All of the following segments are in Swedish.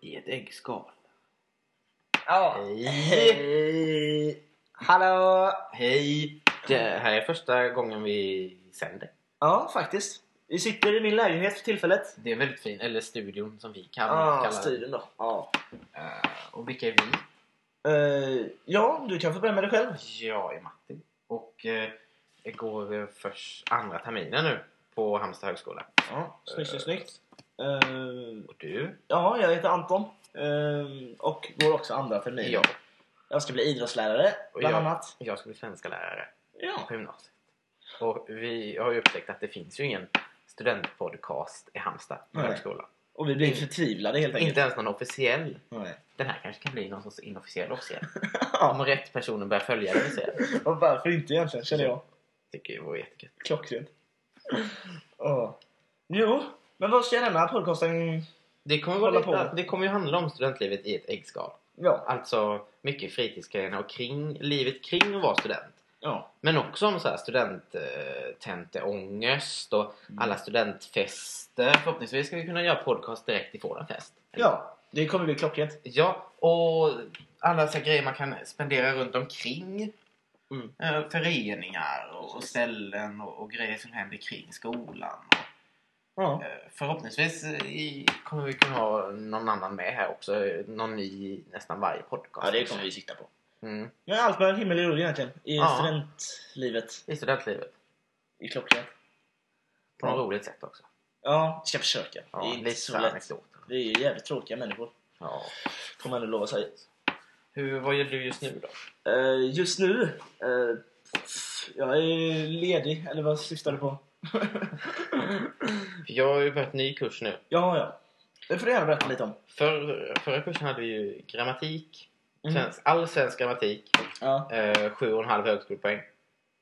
äggskal. Ja. Hej! Hallå! Hej! Det här är första gången vi sänder. Ja, faktiskt. Vi sitter i min lägenhet för tillfället. Det är väldigt fint. Eller studion som vi kan Ja, kalla det. stilen då. Ja. Eh, Och vilka är vi? Eh, ja, du kan få börja med dig själv. Jag är Matti. Och eh, jag går eh, först andra terminen nu på Halmstad högskola. Ja, snyggt, snyggt, Eh. snyggt. Eh, Och du? ja, jag heter Anton. eh, och går också andra terminen. Jag. Jag ska bli idrottslärare, Och bland jag. annat. Jag ska bli svenska lärare Ja. på gymnasiet. Och vi har ju upptäckt att det finns ju ingen studentpodcast i Halmstad Nej. högskola. Och vi blir förtvivlade helt enkelt. Inte ens någon officiell. Nej. Den här kanske kan bli någon sorts inofficiell officiell. Ja. Om rätt personer börjar följa den så Och varför inte egentligen, känner jag. tycker jag vore jättekul. Klockrent. Ja. Jo, men vad ska denna podcasten... Det kommer, Hålla vara lite, på. det kommer ju handla om studentlivet i ett äggskal. Ja. Alltså mycket fritidsgrejerna och kring, livet kring att vara student. Ja. Men också om så här studenttenteångest och Mm. alla studentfester. Förhoppningsvis ska vi kunna göra podcast direkt ifrån en fest. ja, det kommer bli klockrent. Ja, och alla så här grejer man kan spendera runt omkring. Mm. Eh, föreningar och, och ställen och, och grejer som händer kring skolan. Och, Ja. eh, förhoppningsvis eh, i, kommer vi kunna ha någon annan med här också. eh, Någon ny i nästan varje podcast. ja, det kommer vi sikta på. Mm, Men allt mellan himmel och jord egentligen. I Ja. studentlivet. I studentlivet. I klockrent. På något Ja. roligt sätt också. Ja, vi ska försöka. Ja, det är inte lite så så lätt. anekdoter. Vi är ju jävligt tråkiga människor. Ja. Får man ändå lova sig. Hur, vad gör du just nu då? Eh, just nu... eh, jag är ledig, eller vad syftar du på? För Jag har ju börjat ny kurs nu. ja, ja. Det får du gärna berätta lite om. För, förra kursen hade vi ju grammatik. Mm. Svensk, all svensk grammatik. Ja. Eh, sju och en halv högskolepoäng.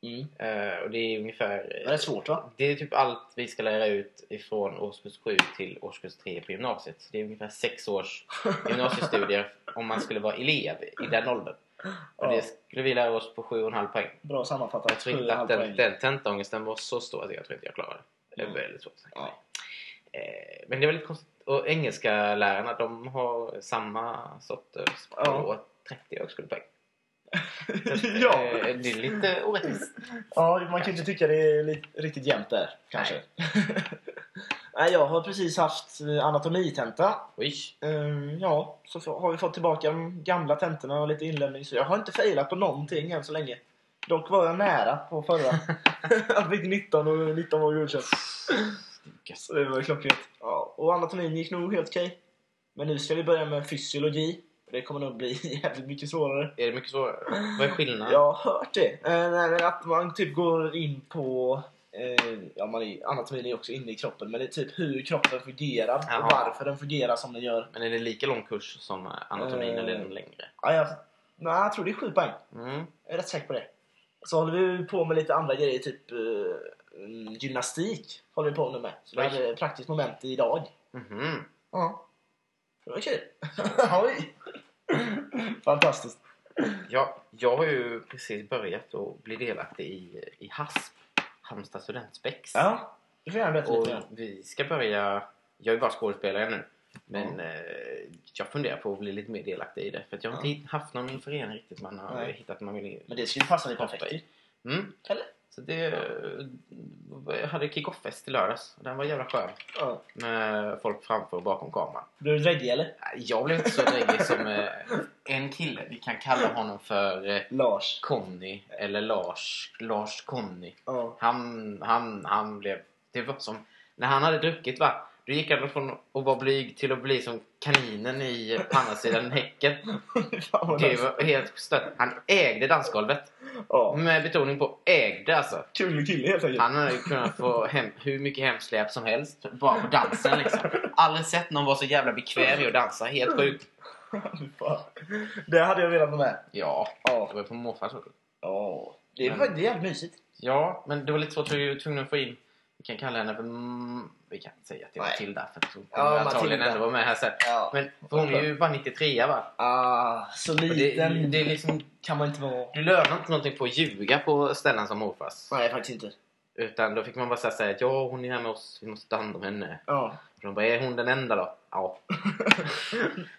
Mm. Eh, och det är ungefär... Det är rätt svårt va? Det är typ allt vi ska lära ut ifrån årskurs 7 till årskurs 3 på gymnasiet. Så det är ungefär sex års gymnasiestudier om man skulle vara elev i den åldern. Och Ja. det skulle vi lära oss på 7,5 poäng. Bra sammanfattat. Jag tror inte att den, den tentaångesten var så stor att jag tror inte jag klarade det. Det är Mm. väldigt svårt. Ja. Eh, Men det är väldigt konstigt. Och engelska lärarna de har samma sorters Ja. ja. 30 högskolepoäng. Så att, ja. eh, Det är lite orättvist. ja, man kan inte tycka det är li- riktigt jämnt där. Kanske. Nej, jag har precis haft eh, anatomitenta. Oj. Ehm, ja, så f- har vi fått tillbaka de gamla tentorna och lite inlämning. Så jag har inte failat på någonting än så länge. Dock var jag nära på förra. jag fick 19 och 19 var godkänt. Så det var ju klockrent. Ja, och anatomin gick nog helt okej. Men nu ska vi börja med fysiologi. Det kommer nog bli jävligt mycket svårare. Är det mycket svårare? Vad är skillnaden? Jag har hört det. Eh, nej, men att man typ går in på... Eh, ja, man är, anatomin är också inne i kroppen, men det är typ hur kroppen fungerar Jaha. och varför den fungerar som den gör. Men är det lika lång kurs som anatomin Eh. eller är den längre? Ja, jag, nej, jag tror det är sju poäng. Mm. Jag är rätt säker på det. Så håller vi på med lite andra grejer, typ eh, mm, gymnastik. Håller vi på med. Så vi Oj. hade praktiskt moment idag. Mhm. Ja. Det var kul. Oj! Fantastiskt. Ja, jag har ju precis börjat och bli delaktig i, i HASP, Halmstad studentspex. Ja, du får gärna berätta Och lite. grann. vi ska börja... Jag är bara skådespelare nu. Men eh, jag funderar på att bli lite mer delaktig i det. För att jag har inte haft någon förening riktigt man har Nej. hittat man vill... Men det skulle passa dig perfekt ju. Mm. Eller? Så det... Jag hade kick-off-fest i lördags. Den var jävla skön. Ja. Med folk framför och bakom kameran. Blir du dräggig eller? Jag blev inte så dräggig som eh, en kille. Vi kan kalla honom för eh, Lars. Conny. Eller Lars. Lars Conny. Ja. Han, han, han blev... Det var som... När han hade druckit va? Då gick han från att vara blyg till att bli som kaninen i eh, på andra sidan häcken. Fan vad Det nice. var helt stört. Han ägde dansgolvet. Ja, Med betoning på ägde alltså. kul kille helt enkelt. Han hade ju kunnat få hem hur mycket hemsläp som helst. Bara på dansen liksom. Aldrig sett någon vara så jävla bekväm i att dansa. Helt sjukt. Fan. Det hade jag velat vara med. Ja, det Ja. var ju på morfars också. ja. Det är Men- faktiskt jävligt mysigt. Ja, men det var lite svårt. så Vi var tvungna att få in... Vi kan kalla henne för... Mm, vi kan inte säga till Nej. Matilda. För att hon Ja, kommer antagligen Matilda. ändå vara med här sen. Ja. Men för hon är ju bara 93 va? Ah, så Och Det, liten det är liksom, kan man inte vara. du lönar inte någonting på att ljuga på ställen som morfars. Nej, faktiskt inte. Utan då fick man bara säga att ja, hon är här med oss, vi måste ta hand om henne. Ja. Och de bara, är hon den enda då? Ja.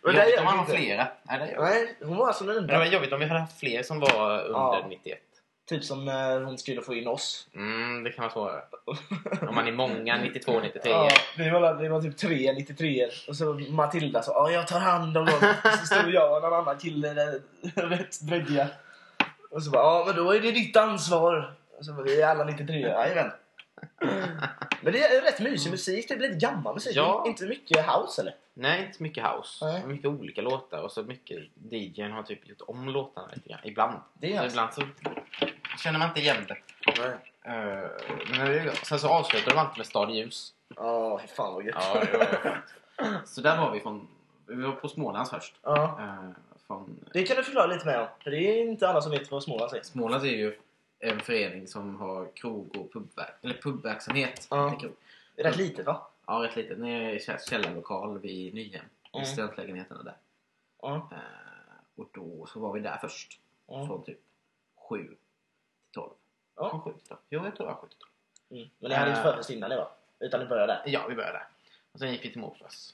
Men jobbigt det gör om vi man har inte. flera. Nej, det är jobbigt. Nej, hon var alltså den Men det enda. var jobbigt om vi hade haft fler som var under Ja. 91. Typ som när hon skulle få in oss. Mm, det kan vara svårare. Om man är många, 92, 93. Ja, vi, var, vi var typ tre 93 Och så Matilda sa "Ja, jag tar hand om dem. Så stod jag och någon annan kille där, rätt dräggiga. Och så bara ja men då är det ditt ansvar. Och så bara, vi är alla 93 Jajamän. Men det är rätt mysig musik. Det blir lite gammal musik. Ja. Inte mycket house eller? Nej, inte så mycket house. Nej. Mycket olika låtar och så mycket DJn har typ gjort om låtarna lite grann. Ibland. Det är Så Ibland så känner man inte igen det. Nej. Eh, men det är ju- sen så avslutar de alltid med Stad i ljus. Ja, fy fan vad gött. Ja, det var skönt. så där var vi från... Vi var på Smålands först. Ja. Eh, från, Det kan du förklara lite mer om. För det är inte alla som vet vad Småland är. Smålands är ju en förening som har krog och pubver- eller pubverksamhet. Ja. Inte krog. Det är Mm. rätt litet va? ja, rätt litet. Det är en kä- källarlokal vid Nyhem. Mm. I studentlägenheterna där. Ja. Mm. Eh, och då så var vi där först. ja. Från typ 7 till 12. Ja. Från 7 till 12. Jo, jag tror det var 7 till 12. Mm. Men det hade inte Äh. förfest innan det va? Utan det började där. Ja, vi började där. Och sen gick vi till morfars.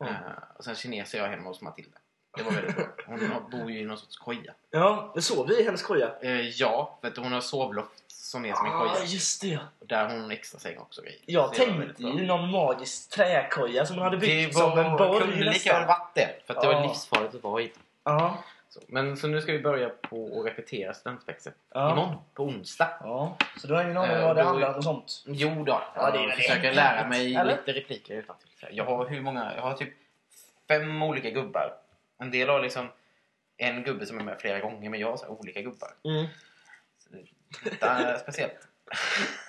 Mm. Eh, och sen kines är jag hemma hos Matilda. Det var väldigt bra. Hon har- bor ju i någon sorts koja. Ja, det sov vi i hennes koja. Eh, ja, för att hon har sovloft som är som en Ja, ah, koja. just det. Och där har hon extra säng också. grejer. Jag Så det var väldigt tänkte bra. ju någon magisk träkoja som hon hade Det byggt var, liksom som en borg kunde lika väl nästan. varit det. För att det var Ja. livsfarligt att vara i. Ja. Så. Men så nu ska vi börja på att repetera studentspexet. Ja. Imorgon, på onsdag. ja. Så du har ingen aning om Äh, vad det då- handlar om och sånt? Jo då, Ja, det är jag väl försöker enkelt, lära mig eller? lite repliker utantill. Så här, Jag har hur många? Jag har typ fem olika gubbar. En del har liksom en gubbe som är med flera gånger, men jag har så här olika gubbar. Mm. Så det är lite speciellt.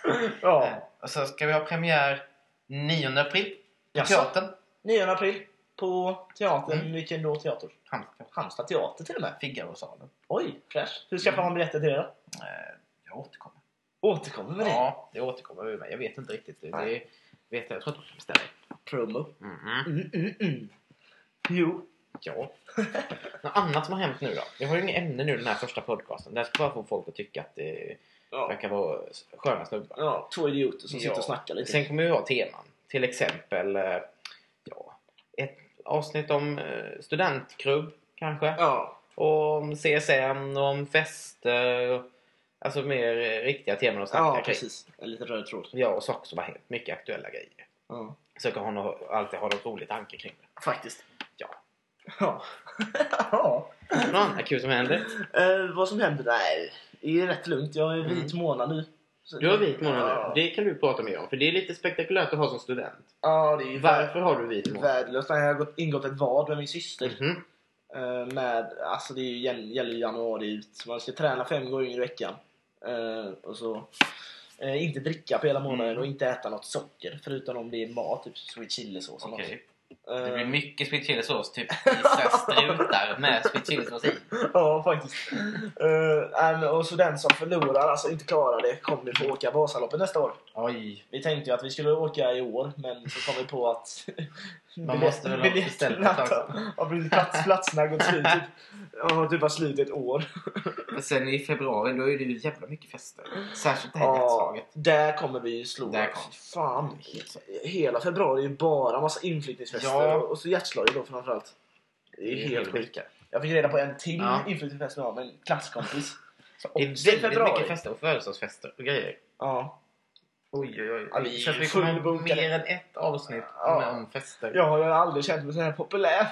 Eh, Ja. Och så ska vi ha premiär 9 april på Jaså? teatern. 9 april på teatern. Mm. Vilken då teater? Halmstad. Halmstad teater till och med. Figarosalen. Oj, fräsch. Hur Mm. skaffar man biljetter till det då? Eh, Jag återkommer. Återkommer med det. Ja, det återkommer vi med. Jag vet inte riktigt. Det, det vet jag. jag tror inte man kan beställa det. Promo. Mhm. Mm, mm, mm. Jo. Ja. Något annat som har hänt nu då? Vi har ju inget ämne nu den här första podcasten. Det här ska bara få folk att tycka att det Ja. verkar vara sköna snubbar. ja. Två idioter som sitter Ja. och snackar lite. Sen kommer vi ha teman. Till exempel eh, ja, ett avsnitt om eh, studentklubb kanske. Ja. Och om CSN och om fester. och- Alltså mer eh, riktiga teman att snacka Ja, kring. precis. En liten röd tråd. Ja, och saker som har hänt. Mycket aktuella grejer. Ja. Försöker ha något, alltid ha något roligt tanke kring det. Faktiskt. Ja. Ja. ja. Något annat kul som händer? Eh, vad som händer? Nej, det är rätt lugnt. Jag är vit månad nu. Så- Du har vit månad Ja. nu. Det kan du prata mer om. För det är lite spektakulärt att ha som student. Ja, det är ju Varför har du vit månad? värdelöst. Jag har gått, ingått ett vad med min syster. Mhm. Eh, med, alltså det är ju, gäll- gäller ju januari ut. Så Man ska träna fem gånger i veckan. Eh, och så eh, inte dricka på hela månaden Mm. och inte äta något socker. Förutom om det är mat, typ sweet chili-sås eller Okej. något. Det Eh, blir mycket sweet chili sås. Typ i så här strutar med sweet chili sås i. Ja, faktiskt. Eh, nej, men- och så den som förlorar, alltså inte klarar det, kommer ju få åka Vasaloppet nästa år. Oj. Vi tänkte ju att vi skulle åka i år, men så kom vi på att... Man måste väl ha biljetterna beställt ett tag sedan. tar- Ja, precis. Plats, platserna har gått slut. Typ, ja, typ har slut i ett år. Men sen i februari då är det ju jävla mycket fester. Särskilt det här Ja, nätslaget. där kommer vi ju slå. Där kom. Fan. Hela februari är ju bara massa inflyttningsfester. Ja. Och så hjärtslaget då framförallt. Det är helt sjukt. Jag fick reda på en till Ja. inflyttningsfest med en klasskompis. Så Det är också i väldigt februari. mycket fester och födelsedagsfester och grejer. Ja. Oj, oj, oj. Ja, vi det är känns ju vi kommer ha fullbokade. mer än ett avsnitt Ja. med om fester. Jag har ju aldrig känt mig så här populär.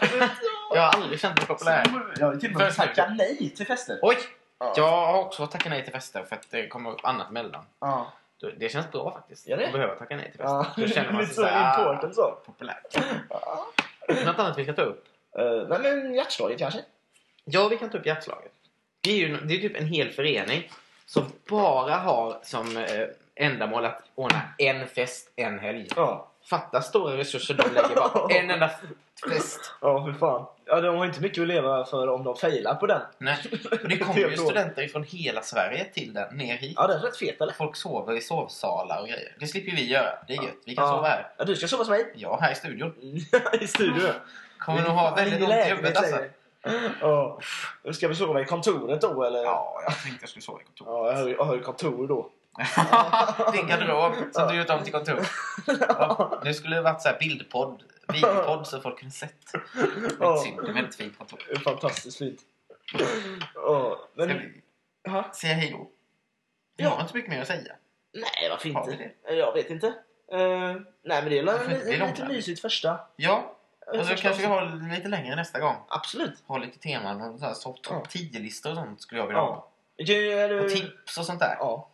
Jag har aldrig känt mig populär. Jag har ju till och med Först nu. tackat nej till fester. Oj! Ja. Jag har också tackat nej till fester för att det kommer upp annat mellan. Ja. Det känns bra faktiskt. Gör det? Att behöva tacka nej till fester. Ja. Då känner man Lite sig så såhär, ah, important så. populär. Ja. Något annat vi ska ta upp? Eh, nej men hjärtslaget kanske? Ja, vi kan ta upp hjärtslaget. Det är ju det är typ en hel förening som bara har som eh, ändamål att ordna en fest en helg. Ja. Fatta stora resurser de lägger bara på en enda f- fest. Ja, hur fan. Ja, de har inte mycket att leva för om de failar på den. Nej. Och det kommer Det är ju då. studenter från hela Sverige till den, ner hit. Ja, den är rätt fet eller? Folk sover i sovsalar och grejer. Det slipper vi göra. Det är gött. Vi kan Ja. sova här. Ja, du ska sova hos mig. Ja, här i studion. Mm. I studion. Kommer nog ha väldigt ont i huvudet alltså. Ja. Ska vi sova i kontoret då eller? Ja, jag tänkte jag skulle sova i kontoret. Ja, jag har ju- jag har ju kontor då. Din garderob som du gjort om till kontor. Ja, Nu skulle det varit så här bildpodd videopodd så folk kunde sett. Väldigt synd. Det är väldigt fint. att- Det är Fantastiskt fint. Ja, Ska men, vi ja. säga hej då? Jag har inte så mycket mer att säga. Nej, varför Har vi inte? Jag vet inte. Eh, nej, men det är väl Varför en- inte? Det är en lite långsamt. mysigt första. Ja, och så första kanske vi avsnitt. har lite längre nästa gång. Absolut. Ha lite teman och så här, så Ja. topp 10-listor och sånt skulle jag vilja Ja. ha. Du, är Och du... tips och sånt där. Ja.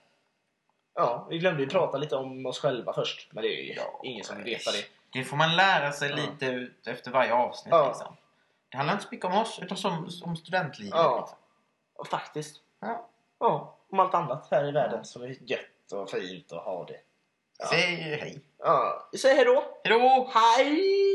Ja, vi glömde ju prata lite om oss själva först. Men det är ju Ja, ingen som nej. vill veta det. Det får man lära sig Ja. lite ut efter varje avsnitt. Ja. Liksom. Det handlar inte så mycket om oss, utan som, om studentlivet. Ja. Liksom. Och faktiskt. Ja. Ja, om allt annat här i världen som är gött och fint och ha det. Ja. Säg hej. Ja, säg hejdå. Hej då! Hej!